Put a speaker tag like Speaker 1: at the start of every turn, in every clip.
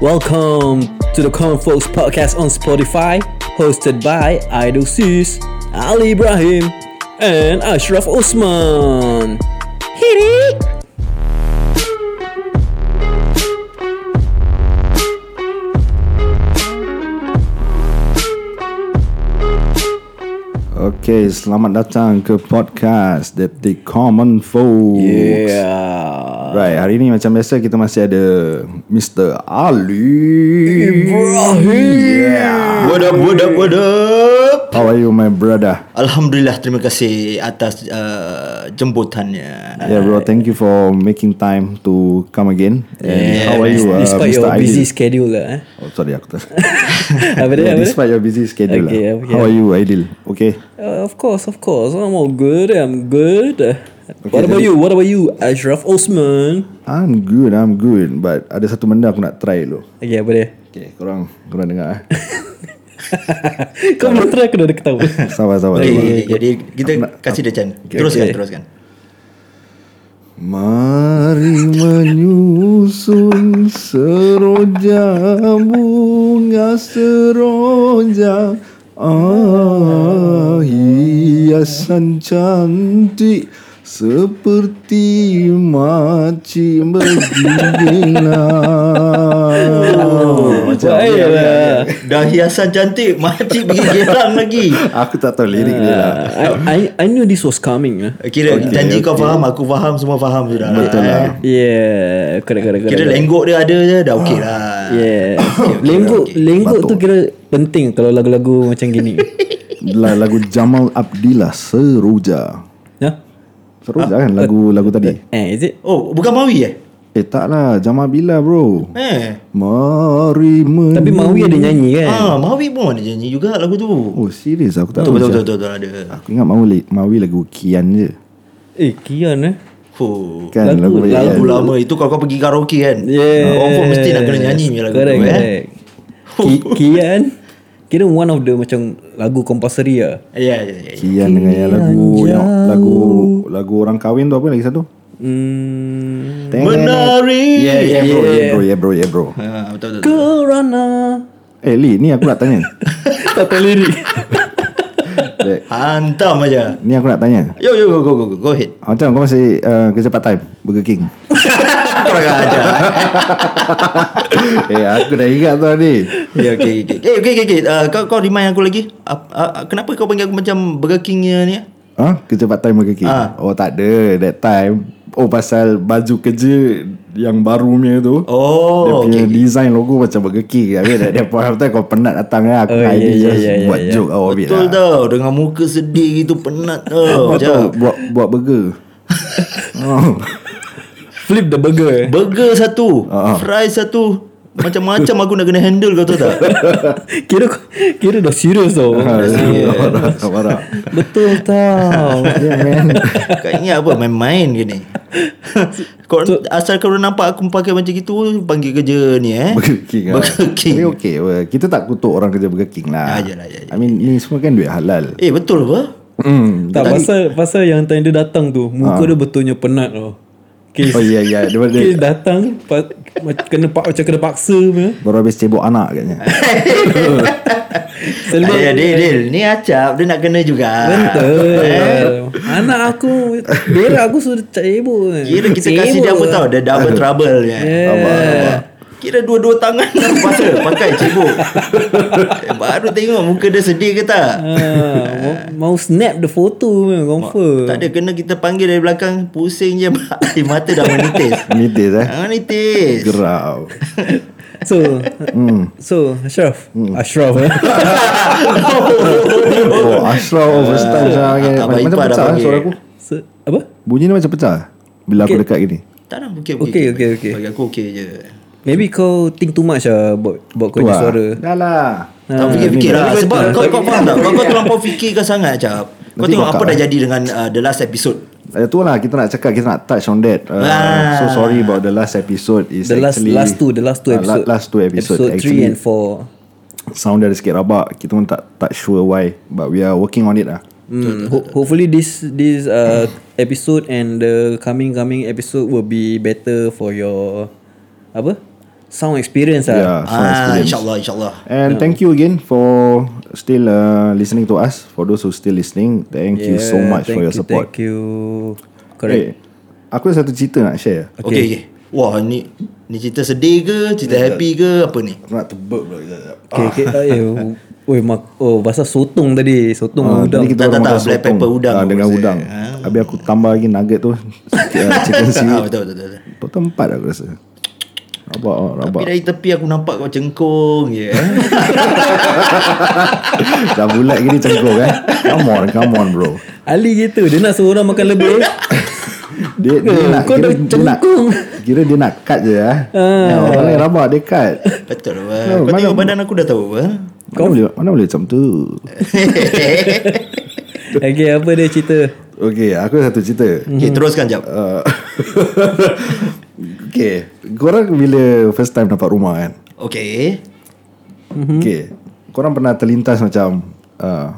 Speaker 1: Welcome to the Common Folks Podcast on Spotify, hosted by Idol Sis, Ali Ibrahim, and Ashraf Osman. Hit it!
Speaker 2: Okey, selamat datang ke podcast The Common Folks.
Speaker 1: Yeah.
Speaker 2: Right, hari ni macam biasa kita masih ada Mr. Ali.
Speaker 1: Ibrahim.
Speaker 3: What up, what up, what up?
Speaker 2: How are you my brother?
Speaker 3: Alhamdulillah, terima kasih atas uh, jemputannya.
Speaker 2: Yeah bro, thank you for making time to come again. And
Speaker 3: Yeah,
Speaker 2: how are you uh,
Speaker 1: Despite your
Speaker 2: Mr. Ali?
Speaker 1: busy schedule lah eh.
Speaker 2: Oh, sorry aku tak.
Speaker 1: Apa dia? Apa
Speaker 2: yeah,
Speaker 1: dia?
Speaker 2: despite your busy schedule
Speaker 1: Okay,
Speaker 2: lah.
Speaker 1: okay.
Speaker 2: How are you Aidil? Okay.
Speaker 1: Uh, of course, of course. I'm all good. I'm good. what about
Speaker 2: jadi-
Speaker 1: you? What about you, Ashraf Osman?
Speaker 2: I'm good, I'm good. But ada satu benda aku nak try dulu.
Speaker 1: Okay, apa dia?
Speaker 2: Okay, korang, korang dengar eh.
Speaker 1: Kau belum try aku dah ada ketawa.
Speaker 2: Sabar, sabar.
Speaker 1: Oh,
Speaker 3: Okay,
Speaker 2: sabar.
Speaker 3: okay, jadi kita kasih dia chance. teruskan,
Speaker 1: okay.
Speaker 3: teruskan.
Speaker 2: Mari menyusun seroja bunga seroja Ah hiasan cantik seperti maci bergila
Speaker 1: Macam ya, lah.
Speaker 3: Dah hiasan cantik, makcik pergi gerang lagi.
Speaker 2: Aku tak tahu lirik dia lah
Speaker 1: uh, I, I, I knew this was coming. ah.
Speaker 3: Kira okay, janji okay. kau faham, aku faham, semua faham sudah. Eh,
Speaker 2: Betul lah
Speaker 1: Yeah, correct, correct, correct.
Speaker 3: Kira lenggok dia ada je, dah okey lah.
Speaker 1: Yeah. lenggok lenggok tu kira penting kalau lagu-lagu macam gini.
Speaker 2: Eh. La- Lagu Jamal Abdillah Seroja
Speaker 1: ya?
Speaker 2: Seroja kan lagu lagu tadi
Speaker 1: Eh, is it?
Speaker 3: Oh, bukan Mawi eh?
Speaker 2: Eh tak lah Jamal Bila bro
Speaker 3: Eh.
Speaker 2: Mari men
Speaker 1: Tapi Mawi ada nyanyi kan?
Speaker 3: Ah, Mawi pun ada janji juga lagu tu.
Speaker 2: Oh serius aku tak tahu
Speaker 3: Betul,
Speaker 2: Ah.
Speaker 3: betul,
Speaker 2: Syah.
Speaker 3: betul, betul, betul ada.
Speaker 2: Aku ingat Mawi, Mawi lagu Kian je
Speaker 1: Eh, Kian eh.
Speaker 3: Oh.
Speaker 2: Kan
Speaker 1: Lagu-
Speaker 2: lagu, lagu,
Speaker 3: Lagu lama itu kalau kau pergi karaoke kan.
Speaker 1: Yeah.
Speaker 3: Confirm mesti nak kena nyanyi punya lagu
Speaker 1: correct,
Speaker 3: tu eh.
Speaker 1: correct. Ki- Kian kira one of the macam lagu compulsory ah.
Speaker 3: Ya ya ya.
Speaker 2: Kian dengan yang lagu yang lagu lagu orang kahwin tu apa lagi satu?
Speaker 1: Hmm.
Speaker 2: Teng-
Speaker 3: Menari.
Speaker 2: Yeah, yeah, bro, yeah, bro, yeah, bro, yeah, bro.
Speaker 3: Ya, Ha betul betul.
Speaker 1: Kerana
Speaker 2: Eh, Lee, ni aku nak tanya.
Speaker 1: tak tahu lirik.
Speaker 2: Dek,
Speaker 3: Hantam aja.
Speaker 2: Eh, ni aku nak tanya.
Speaker 3: Yo yo go go go go, go ahead.
Speaker 2: Macam kau masih uh, kerja part time Burger King
Speaker 3: Kurang aja.
Speaker 2: Eh aku dah ingat tu ni
Speaker 3: Ya okey okey. Eh okey okey okey. Ah, kau kau remind aku lagi. Ap- ah, kenapa kau panggil aku macam Burger King ni? eh?
Speaker 2: Ha? Kerja part time Burger King
Speaker 3: Ah.
Speaker 2: Oh tak ada That time Oh pasal baju kerja Yang baru punya tu Dia
Speaker 3: Oh,
Speaker 2: punya
Speaker 3: okey.
Speaker 2: okay, design logo macam Burger King I mean at that point of time Kau penat datang lah Aku
Speaker 1: Oh,
Speaker 2: oh,
Speaker 3: ya,
Speaker 2: yeah,
Speaker 1: yeah, yeah,
Speaker 2: just
Speaker 1: yeah, yeah,
Speaker 2: buat
Speaker 1: yeah.
Speaker 2: joke awal
Speaker 3: Betul
Speaker 2: lah
Speaker 3: tau Dengan muka sedih gitu Penat tau
Speaker 2: Kau tahu
Speaker 3: Macam
Speaker 2: buat, buat burger oh.
Speaker 1: Flip the burger.
Speaker 3: Burger eh. satu Fries satu Macam-macam aku nak kena handle Kau tahu tak
Speaker 1: kira kira dah serius tau.
Speaker 2: Marah Marah
Speaker 1: Betul tau.
Speaker 2: Yeah man
Speaker 3: Kau ingat apa main-main ke ni kau, Asal kau nampak aku pakai macam gitu Panggil kerja ni eh
Speaker 2: Burger King lah
Speaker 3: Burger King.
Speaker 2: Tapi okay apa. Kita tak kutuk orang kerja Burger King lah
Speaker 3: Ya, yalah, ya, ya.
Speaker 2: I mean ni semua kan duit halal
Speaker 3: Eh betul apa
Speaker 2: Hmm.
Speaker 1: tak pasal pasal yang time dia datang tu, muka
Speaker 3: Ah.
Speaker 1: dia betulnya penat tau. Okay,
Speaker 2: Oh ya ya Dia
Speaker 1: okay
Speaker 2: dia-
Speaker 1: datang pa, ma- kena pak macam kena paksa punya.
Speaker 2: Baru habis cebok anak katnya
Speaker 3: Eh. Ayah,
Speaker 1: Selebih
Speaker 3: Ya, Dil, Dil Ni acap Dia nak kena juga Eh,
Speaker 1: Betul Anak aku Berak aku sudah cebok
Speaker 3: Kira kita kasih dia apa
Speaker 1: eh.
Speaker 3: tau Dia double trouble ya.
Speaker 1: Yeah.
Speaker 3: Abang, abang. Kira dua-dua tangan Pasal pakai cebok Eh, Baru tengok muka dia sedih ke tak
Speaker 1: ha, mau, mau snap the photo punya, Confirm
Speaker 3: Tak ada kena kita panggil dari belakang Pusing je Air mata dah menitis Ah,
Speaker 2: Mitis eh
Speaker 3: Jangan nitis
Speaker 2: Gerau
Speaker 1: So
Speaker 3: Hmm.
Speaker 1: So Ashraf Ashraf eh?
Speaker 2: Oh Ashraf First time saya panggil.
Speaker 3: Abang
Speaker 2: Macam
Speaker 3: Ipar dah
Speaker 2: pecah eh,
Speaker 3: Ah, panggil.
Speaker 2: suara aku
Speaker 1: so, Apa?
Speaker 2: Bunyi dia macam pecah Bila aku dekat gini
Speaker 3: Tak nak okey
Speaker 1: Okey, okey, okey.
Speaker 3: Bagi aku okey je.
Speaker 1: Maybe kau think too much lah Buat, buat kau
Speaker 2: Tu
Speaker 1: punya
Speaker 2: lah.
Speaker 1: suara
Speaker 2: Dah lah
Speaker 1: Ah,
Speaker 3: tak fikir-fikir lah Sebab kau, kau faham tak Kau, kau terlampau fikirkan sangat Cap Kau
Speaker 2: Nanti
Speaker 3: tengok
Speaker 2: bakar,
Speaker 3: apa dah jadi dengan uh, The last episode
Speaker 2: Eh, tu lah kita nak cakap Kita nak touch on that uh,
Speaker 3: Ah.
Speaker 2: So sorry about the last episode is
Speaker 1: The last
Speaker 2: actually,
Speaker 1: last two The last two
Speaker 2: Ah, la-
Speaker 1: episode
Speaker 2: Last two episode,
Speaker 1: Episode 3
Speaker 2: actually,
Speaker 1: and 4
Speaker 2: Sound dia ada sikit rabak Kita pun tak tak sure why But we are working on it lah
Speaker 1: Hmm, ho- hopefully this this uh, episode and the coming coming episode will be better for your apa sound experience lah.
Speaker 2: Yeah, sound
Speaker 3: Ah,
Speaker 2: experience.
Speaker 3: insyaallah insyaallah.
Speaker 2: And thank you again for still uh, listening to us. For those who still listening, thank you so
Speaker 1: Yeah,
Speaker 2: much for
Speaker 1: thank
Speaker 2: your
Speaker 1: you,
Speaker 2: support.
Speaker 1: Thank you. Correct.
Speaker 2: Eh, aku ada satu cerita nak share.
Speaker 3: Okay. okay. okay. Wah, ni ni cerita sedih ke, cerita happy ke, apa ni?
Speaker 2: Aku nak terbuk pula sekejap.
Speaker 1: Okay, okay. Ah, eh, oh, Oh, mak, oh bahasa sotong tadi. Sotong uh,
Speaker 2: Ah,
Speaker 1: udang.
Speaker 2: tadi kita
Speaker 3: Tak,
Speaker 2: orang
Speaker 3: tak,
Speaker 2: makan
Speaker 3: tak, black
Speaker 2: sotong.
Speaker 3: pepper udang
Speaker 2: Ah,
Speaker 3: tu
Speaker 2: dengan
Speaker 3: maksud
Speaker 2: udang. Habis aku tambah lagi nugget tu. Sikit ah, chicken
Speaker 3: Ah,
Speaker 2: seaweed.
Speaker 3: betul betul betul.
Speaker 2: Total empat aku rasa. Rabak, ah,
Speaker 3: Tapi
Speaker 2: rabak.
Speaker 3: dari tepi aku nampak kau cengkung je. eh.
Speaker 2: Dah bulat gini cengkok eh. Come on, come on bro.
Speaker 1: Ali gitu. Dia nak suruh orang makan lebih.
Speaker 2: Dia, dia
Speaker 1: Eh,
Speaker 2: nak,
Speaker 1: kau
Speaker 2: kira,
Speaker 1: dah
Speaker 2: dia nak,
Speaker 1: cengkung.
Speaker 2: kira dia nak cut je eh. Ah. Orang lain rabak dia cut.
Speaker 3: betul
Speaker 2: Oh,
Speaker 3: lah. Kau
Speaker 2: mana-
Speaker 3: tengok badan aku dah tahu eh? apa.
Speaker 2: Mana boleh, mana boleh macam tu.
Speaker 1: okay, apa dia cerita?
Speaker 2: Okay, aku ada satu cerita.
Speaker 3: Okay, teruskan jap.
Speaker 2: Uh, okay, korang bila first time dapat rumah kan?
Speaker 3: Okay.
Speaker 2: Mm-hmm. Okay, korang pernah terlintas macam uh,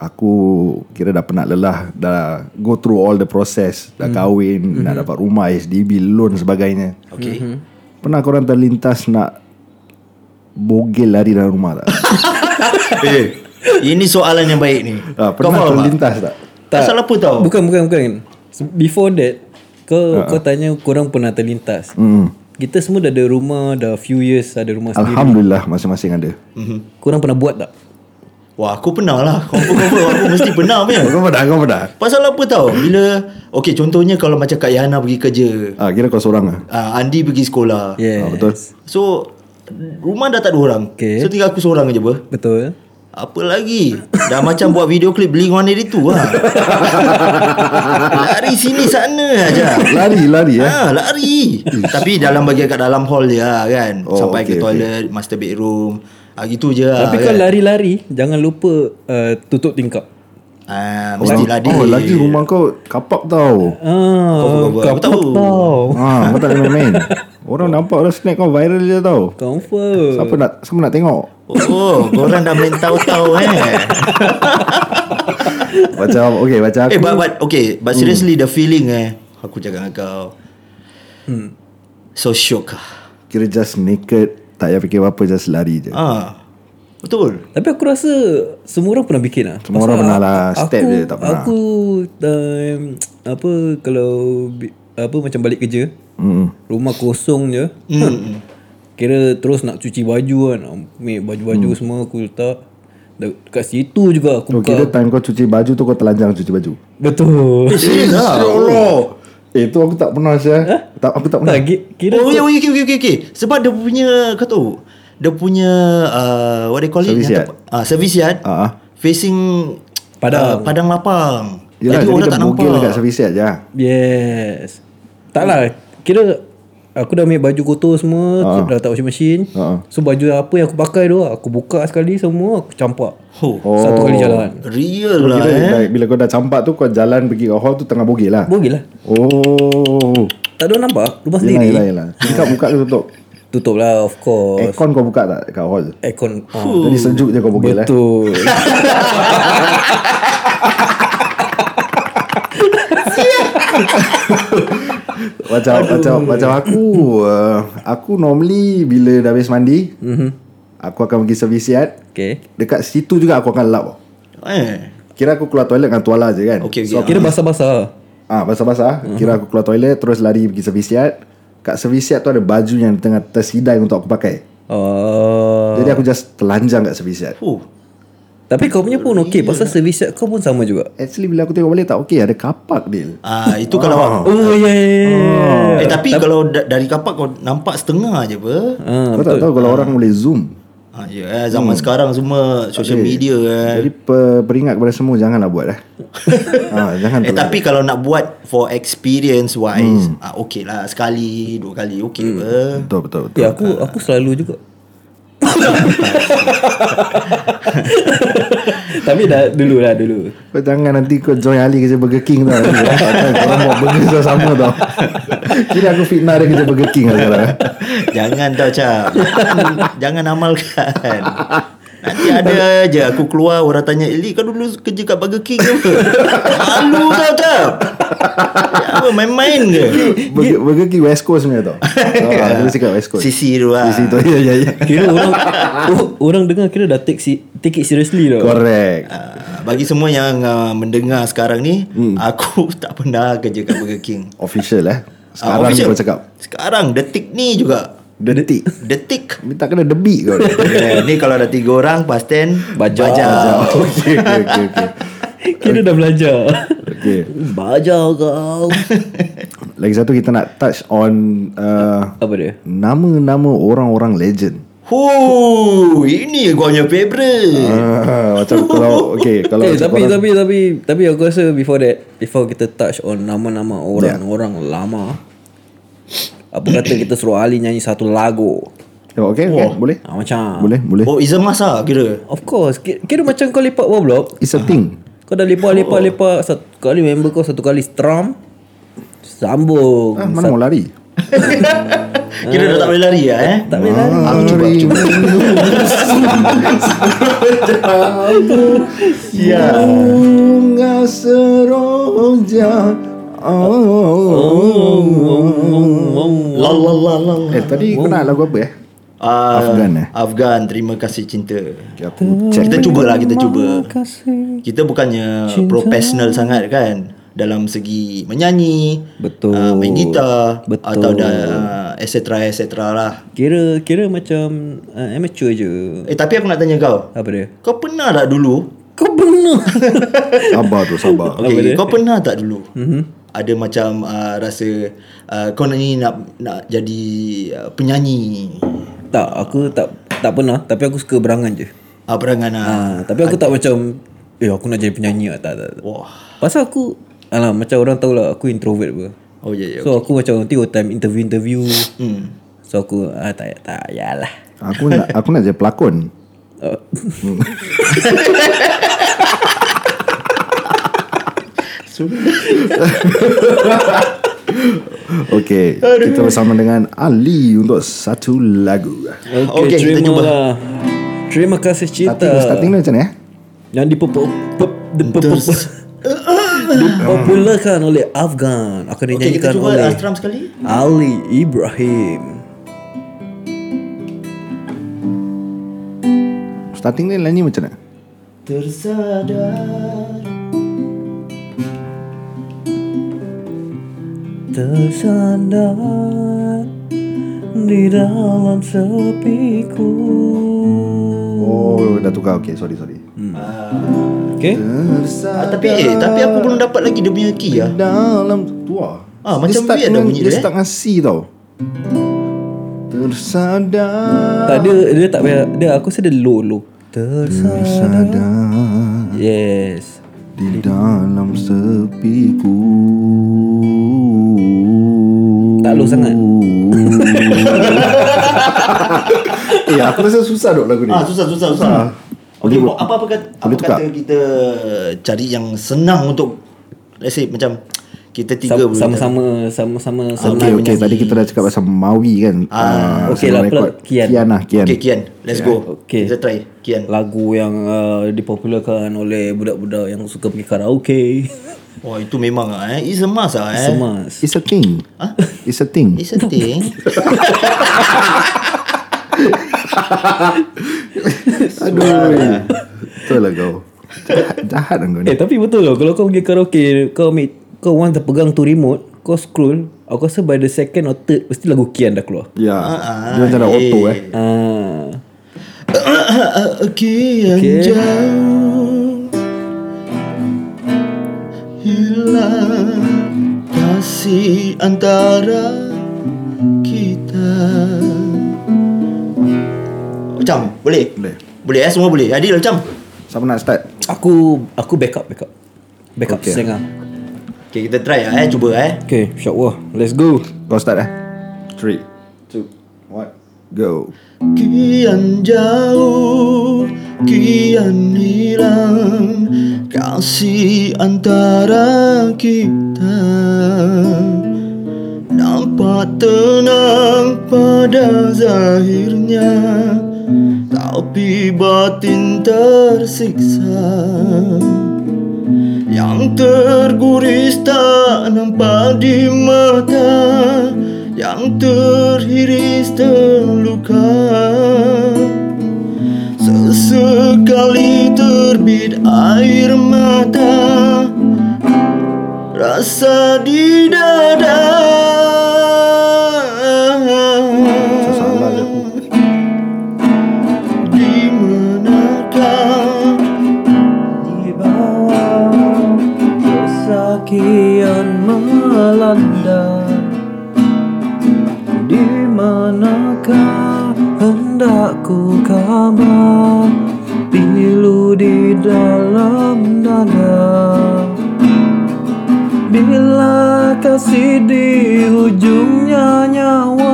Speaker 2: aku kira dah penat lelah, dah go through all the process, dah kahwin, mm-hmm. nak dapat rumah, SDB, loan sebagainya.
Speaker 3: Okay.
Speaker 2: Pernah korang terlintas nak bogel lari dalam rumah tak?
Speaker 3: eh, ini soalan yang baik ni.
Speaker 2: uh,
Speaker 3: kau
Speaker 2: pernah
Speaker 3: faham tak?
Speaker 2: terlintas tak?
Speaker 3: Tak. Pasal apa
Speaker 2: Oh.
Speaker 3: tau?
Speaker 1: Bukan, bukan, bukan. Se- Before that, kau
Speaker 2: Ah.
Speaker 1: kau tanya korang pernah terlintas.
Speaker 2: Mm.
Speaker 1: Kita semua dah ada rumah, dah few years ada rumah sendiri.
Speaker 2: Alhamdulillah masing-masing ada.
Speaker 1: Korang pernah buat tak?
Speaker 3: Wah, aku pernah lah. Confirm-confirm aku mesti pernah punya.
Speaker 2: Kau pernah, kau pernah.
Speaker 3: Pasal apa tau? Bila Okay contohnya kalau macam Kak Yana pergi kerja
Speaker 2: Ah, kira kau seorang lah.
Speaker 3: uh, Andi pergi sekolah
Speaker 1: Yes.
Speaker 2: Ah, betul.
Speaker 3: So Rumah dah tak ada orang
Speaker 1: Okay.
Speaker 3: So tinggal aku seorang je ber
Speaker 1: Betul.
Speaker 3: apa lagi Dah macam buat video klip Beli mana dia tu lah Lari sini sana aja.
Speaker 2: Ah, Lari, lari eh.
Speaker 3: Ha, lari Tapi dalam bagian kat dalam hall je lah kan
Speaker 2: Oh,
Speaker 3: Sampai
Speaker 2: okay,
Speaker 3: ke toilet Master bedroom ha, Gitu
Speaker 2: Ah,
Speaker 3: je lah
Speaker 1: Tapi
Speaker 2: ya.
Speaker 1: kau lari-lari, jangan lupa uh, tutup tingkap.
Speaker 3: ha,
Speaker 2: Orang-
Speaker 3: Mesti lari
Speaker 2: Oh lagi rumah kau Kapak tau
Speaker 1: Ah,
Speaker 3: Kau- kau-
Speaker 1: kau
Speaker 3: kau tahu.
Speaker 1: tahu.
Speaker 3: Oh.
Speaker 2: ha, Kau tak boleh main-main Orang nampak dah snack kau viral je tau
Speaker 1: Confirm.
Speaker 2: Siapa nak Siapa nak tengok
Speaker 3: Oh, korang dah main tahu-tahu eh
Speaker 2: Macam Okay macam aku Hmm.
Speaker 3: Eh but, but okay But seriously the feeling eh Aku cakap dengan kau
Speaker 1: Hmm.
Speaker 3: So shock ah.
Speaker 2: Kira just naked Tak payah fikir apa-apa Just lari je
Speaker 3: ah. Betul
Speaker 1: Tapi aku rasa semua orang pernah bikin lah.
Speaker 2: Semua orang pernah lah. Step
Speaker 1: aku,
Speaker 2: je tak pernah.
Speaker 1: Aku um, apa kalau bi- apa macam balik kerja,
Speaker 2: Mm-mm.
Speaker 1: rumah kosong je.
Speaker 2: Hmm.
Speaker 3: mm.
Speaker 1: Kira terus nak cuci baju kan. Ambil baju-baju hmm. semua aku letak. De- Dekat situ juga aku
Speaker 2: So
Speaker 1: buka.
Speaker 2: Oh, kira time kau cuci baju tu Kau telanjang cuci baju Ya
Speaker 1: Betul.
Speaker 3: Serius lah
Speaker 2: Allah Eh tu aku tak pernah Syah
Speaker 3: Eh?
Speaker 2: tak, Aku tak pernah
Speaker 1: tak, ki- kira
Speaker 2: ya,
Speaker 3: Oh yeah, okay, okay, okay, okay. Sebab dia punya Kau tahu Dia punya uh, What they call it
Speaker 2: Service yard.
Speaker 3: uh, Service yard
Speaker 2: Ah, ah.
Speaker 3: Facing
Speaker 1: Padang.
Speaker 3: uh, Padang lapang
Speaker 2: Yelah
Speaker 3: Jadi
Speaker 2: jadi
Speaker 3: orang
Speaker 2: dia
Speaker 3: tak
Speaker 2: bogel dekat
Speaker 3: nampak
Speaker 2: service ya. yard je
Speaker 1: Yes. Tak lah. Kira aku dah ambil baju kotor semua.
Speaker 2: Ha.
Speaker 1: Dah tak washing machine.
Speaker 2: Ha.
Speaker 1: So baju apa yang aku pakai tu. Aku buka sekali semua. Aku campak.
Speaker 3: oh,
Speaker 1: Oh. Satu kali jalan.
Speaker 3: Real lah
Speaker 2: Kira
Speaker 3: eh
Speaker 2: dah, bila kau dah campak tu Kau jalan pergi ke hall tu Tengah bogel lah
Speaker 1: Boleh lah.
Speaker 2: Oh
Speaker 1: Tak ada orang nampak. Rumah
Speaker 2: Yelah
Speaker 1: sendiri.
Speaker 2: yelah yelah Buka buka ke tutup
Speaker 1: Tutup lah of course.
Speaker 2: Aircon kau buka tak Kat hall
Speaker 1: Aircon. Ha.
Speaker 2: Jadi sejuk je kau bogel eh.
Speaker 1: Betul.
Speaker 2: Macam macam macam aku uh, aku normally bila dah habis mandi, mm-hmm.
Speaker 3: Mhm.
Speaker 2: aku akan pergi servis yard.
Speaker 1: okay.
Speaker 2: Dekat situ juga aku akan lap. tau.
Speaker 3: Eh
Speaker 2: Kira aku keluar toilet dengan tuala je kan.
Speaker 3: Okay, Mhm. okay.
Speaker 2: So,
Speaker 1: Kira basah-basah.
Speaker 2: ah basah-basah, kira aku keluar toilet terus lari pergi servis yard. Kat servis yard tu ada baju yang tengah tersidai untuk aku pakai.
Speaker 1: Uh,
Speaker 2: Jadi aku just telanjang kat servis yard.
Speaker 3: Fuh.
Speaker 1: tapi kau punya pun okey Pasal servis yard kau pun sama juga
Speaker 2: Actually bila aku tengok balik tak okey ada kapak deal.
Speaker 3: Ah, itu kalau
Speaker 1: Oh ya yeah, yeah.
Speaker 3: Eh tapi kalau da- dari kapak kau nampak setengah je apa.
Speaker 1: Ah,
Speaker 2: Kau tak tahu kalau orang boleh zoom.
Speaker 3: Ha, ya, eh, zaman hmm. sekarang semua social media eh.
Speaker 2: Jadi per, peringat kepada semua janganlah buat eh. ah, jangan telan.
Speaker 3: Eh tapi kalau nak buat for experience wise, hmm. ah okey lah sekali, dua kali okey hmm. apa.
Speaker 2: Betul betul betul.
Speaker 1: Ya aku aku selalu juga. Tapi dah dulu lah dulu.
Speaker 2: Kau jangan nanti kau join Ali kerja Burger King tau Korang buat burger dah sama tau Kira aku fitnah dia kerja Burger King lah sekarang
Speaker 3: Jangan tau cap. Jangan amalkan. Nanti ada je aku keluar orang tanya Eli kau dulu kerja kat Burger King ke apa? Malu kau tak? Apa main-main ke?
Speaker 2: Burger, Burger King West Coast punya tau oh, Aku mesti kat West Coast
Speaker 3: Sisi tu lah.
Speaker 2: Sisi tu ya, ya, ya.
Speaker 1: Kira orang o- Orang dengar kira dah take, si, take it seriously tau
Speaker 2: Correct
Speaker 3: Ah, bagi semua yang uh, mendengar sekarang ni
Speaker 2: Hmm.
Speaker 3: aku tak pernah kerja kat Burger King.
Speaker 2: Official eh
Speaker 3: Ah,
Speaker 2: Sekarang
Speaker 3: official.
Speaker 2: kau cakap
Speaker 3: Sekarang detik ni juga.
Speaker 2: Detik
Speaker 3: Detik.
Speaker 2: Minta kena debi kau ni.
Speaker 3: Eh, ni kalau ada tiga orang pasten
Speaker 1: Bajak.
Speaker 3: bajak.
Speaker 2: Okay okay okay, okay.
Speaker 1: Kira dah belajar
Speaker 2: okay.
Speaker 1: Belajar kau
Speaker 2: Lagi satu kita nak touch on uh,
Speaker 1: Apa dia?
Speaker 2: Nama-nama orang-orang legend
Speaker 3: Hu, ini gua punya favorite.
Speaker 2: uh, Macam kalau Okay kalau
Speaker 1: eh,
Speaker 2: macam
Speaker 1: tapi
Speaker 2: korang-
Speaker 1: tapi tapi tapi aku rasa before that before kita touch on nama-nama orang-orang lama apa kata kita suruh Ali nyanyi satu lagu
Speaker 2: Tengok, Okay, okay boleh
Speaker 1: ha, macam
Speaker 2: Boleh boleh
Speaker 3: Oh, Izam masa kira.
Speaker 1: of course kira, kira macam kau lepak bawah blok
Speaker 2: It's a thing
Speaker 1: kau dah lepak-lepak lepak satu kali member kau satu kali strum sambung
Speaker 2: ah, Mana mau lari
Speaker 3: Kira dah tak boleh lari lah eh.
Speaker 1: tak boleh lari
Speaker 2: Ah, Aku cuba cuba Ya Bunga seroja Oh
Speaker 3: La la la la. la.
Speaker 2: Eh tadi kau nak lagu apa eh?
Speaker 3: Ah,
Speaker 2: Afgan, eh?
Speaker 3: Afgan, terima kasih cinta.
Speaker 2: Okay, Aku check
Speaker 3: Kita cubalah, kita cuba.
Speaker 1: kasih
Speaker 3: Kita bukannya profesional sangat kan dalam segi menyanyi,
Speaker 1: Betul.
Speaker 3: ah, main gitar
Speaker 1: Betul.
Speaker 3: atau dah uh, et cetera et cetera lah.
Speaker 1: kira kira macam uh, amateur je
Speaker 3: Eh tapi aku nak tanya kau.
Speaker 1: apa dia
Speaker 3: Kau pernah tak dulu?
Speaker 1: kau benar
Speaker 2: Sabar tu sabar
Speaker 3: Okay, kau pernah tak dulu? Mm-hmm. Ada macam uh, rasa uh, kau nak ni nak nak jadi uh, penyanyi.
Speaker 1: Tak, aku tak tak pernah tapi aku suka berangan je.
Speaker 3: Ah perangan ah.
Speaker 1: Ha, tapi aku tak macam eh aku nak jadi penyanyi lah. tak tak. tak.
Speaker 3: Wah.
Speaker 1: Pasal aku alah macam orang tahu lah aku introvert apa.
Speaker 3: Oh ya ya.
Speaker 1: So aku macam nanti all time interview-interview.
Speaker 3: Hmm.
Speaker 1: So aku ah tak tak yalah.
Speaker 2: Aku nak aku nak jadi pelakon
Speaker 1: Oh,
Speaker 2: Okay Kita bersama dengan Ali Untuk satu lagu
Speaker 1: okay,
Speaker 3: Okay, kita
Speaker 1: terima
Speaker 3: cuba.
Speaker 1: lah. Terima kasih
Speaker 2: Starting,
Speaker 1: cerita
Speaker 2: starting dia macam ni eh
Speaker 1: yang dipopul dipopularkan oleh Afghan akan
Speaker 3: Okay,
Speaker 1: dinyanyikan
Speaker 3: kita cuba
Speaker 1: oleh
Speaker 3: uh, strum sekali.
Speaker 1: Ali Ibrahim.
Speaker 2: Starting dia nyanyi macam mana?
Speaker 3: Tersadar
Speaker 1: Tersandar di dalam sepiku
Speaker 2: Oh dah tukar Okay sorry sorry
Speaker 1: Okay
Speaker 3: ah, Tapi eh Tapi aku belum dapat lagi Dia punya key lah
Speaker 2: Dalam tua.
Speaker 3: Ah, macam weird dah bunyi
Speaker 2: dia.
Speaker 3: dia, eh?
Speaker 2: start dengan C tau. Tersadar.
Speaker 1: Tak dia Dia tak payah Dia aku rasa dia low low Tersadar
Speaker 2: Tersadar
Speaker 3: Hmm.
Speaker 1: Yes
Speaker 2: di dalam sepiku.
Speaker 1: Tak low sangat
Speaker 2: Eh, aku rasa susah dok lagu ni.
Speaker 3: Ah susah susah susah
Speaker 2: Boleh
Speaker 3: Okay
Speaker 2: buat-
Speaker 3: apa-apa kata, apa
Speaker 2: boleh tukar?
Speaker 3: kata kita Cari yang senang untuk Let's say macam Kita tiga Ah,
Speaker 1: Sam-
Speaker 3: boleh
Speaker 1: Sama-sama Sama-sama
Speaker 2: Okay,
Speaker 1: senang
Speaker 2: okay. Tadi kita dah cakap pasal Maui kan. Ah,
Speaker 1: okay lah, plug Kian.
Speaker 2: Kian lah, Kian.
Speaker 3: Okay Kian Let's go
Speaker 1: Okay.
Speaker 3: Kita try Kian
Speaker 1: Lagu yang uh, dipopularkan oleh budak-budak yang suka pergi karaoke
Speaker 3: Oh itu memang ah, eh It's a must lah eh
Speaker 1: Semas
Speaker 2: It's a thing. It's a thing.
Speaker 3: It's a thing
Speaker 2: Aduh. Betul lah kau. Jahat, jahat lah kau ni.
Speaker 1: Eh tapi betul lah Kalau kau pergi karaoke Kau ambil Kau once dah pegang tu remote Kau scroll Aku rasa by the second or third Mesti lagu Kian dah keluar
Speaker 2: Ya.
Speaker 3: Ah,
Speaker 2: Dia macam dah auto eh.
Speaker 1: Ah,
Speaker 3: Kian
Speaker 1: Okay.
Speaker 3: jauh Hilang kasih antara kita Macam boleh?
Speaker 2: Boleh.
Speaker 3: Boleh eh semua boleh Adil macam
Speaker 2: Siapa nak start?
Speaker 1: Aku Aku backup Backup Backup
Speaker 2: Okay.
Speaker 1: okay. setengah
Speaker 3: Okay kita try lah eh cuba eh
Speaker 1: Okay insyaAllah Let's go
Speaker 2: Kau start eh. 3, 2, 1, go.
Speaker 3: Kian jauh, kian hilang Kasih antara kita Nampak tenang pada zahirnya Tak Tapi batin tersiksa yang terguris tak nampak di mata Yang terhiris terluka Sesekali terbit air mata Rasa di dada
Speaker 2: Salah je aku
Speaker 3: Di manakah
Speaker 4: Di bawah kesakian melanda Di manakah hendak ku kabar Pilu di dalam dada Bila kasih di hujungnya nyawa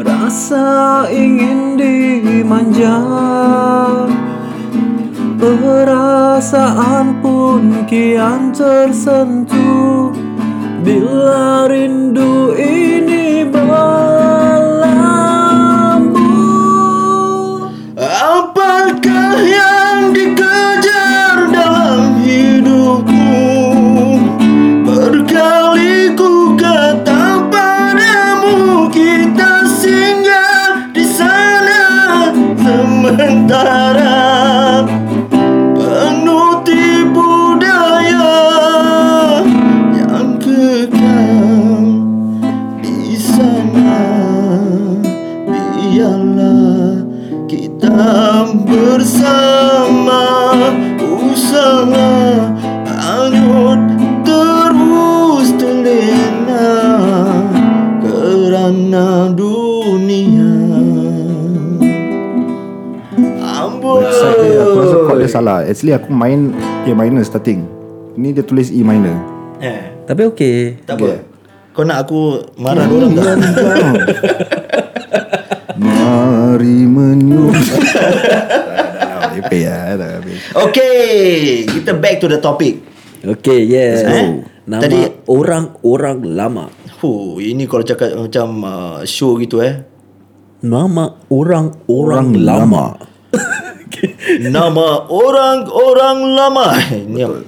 Speaker 4: Rasa ingin dimanja Perasaan pun kian tersentuh Bila rindu ini berlabuh
Speaker 3: Apakah yang dikejar dalam hidupmu Berkali ku kata padamu Kita singgah di sana Sementara penuh tipu daya Yang kekal di sana biarlah kita bersama Usaha hanyut terus telinga Kerana dunia Amboi
Speaker 2: Eh,
Speaker 3: Oh.
Speaker 2: Aku rasa chord dia salah Actually aku main A minor starting Ni dia tulis E minor
Speaker 3: eh,
Speaker 1: Tapi okey.
Speaker 3: Tak apa Kau nak aku marah
Speaker 2: Hmm.
Speaker 3: orang tak?
Speaker 2: Mari menyuruh Lepek lah dah habis.
Speaker 3: Okay Kita back to the topic
Speaker 1: Okey, yes. Oh.
Speaker 3: Eh?
Speaker 1: Nama
Speaker 3: Tadi-
Speaker 1: orang-orang lama.
Speaker 3: Huh, ini kalau cakap macam uh, show gitu eh.
Speaker 1: Nama orang-orang lama.
Speaker 3: Nama orang-orang lama. Ini apa?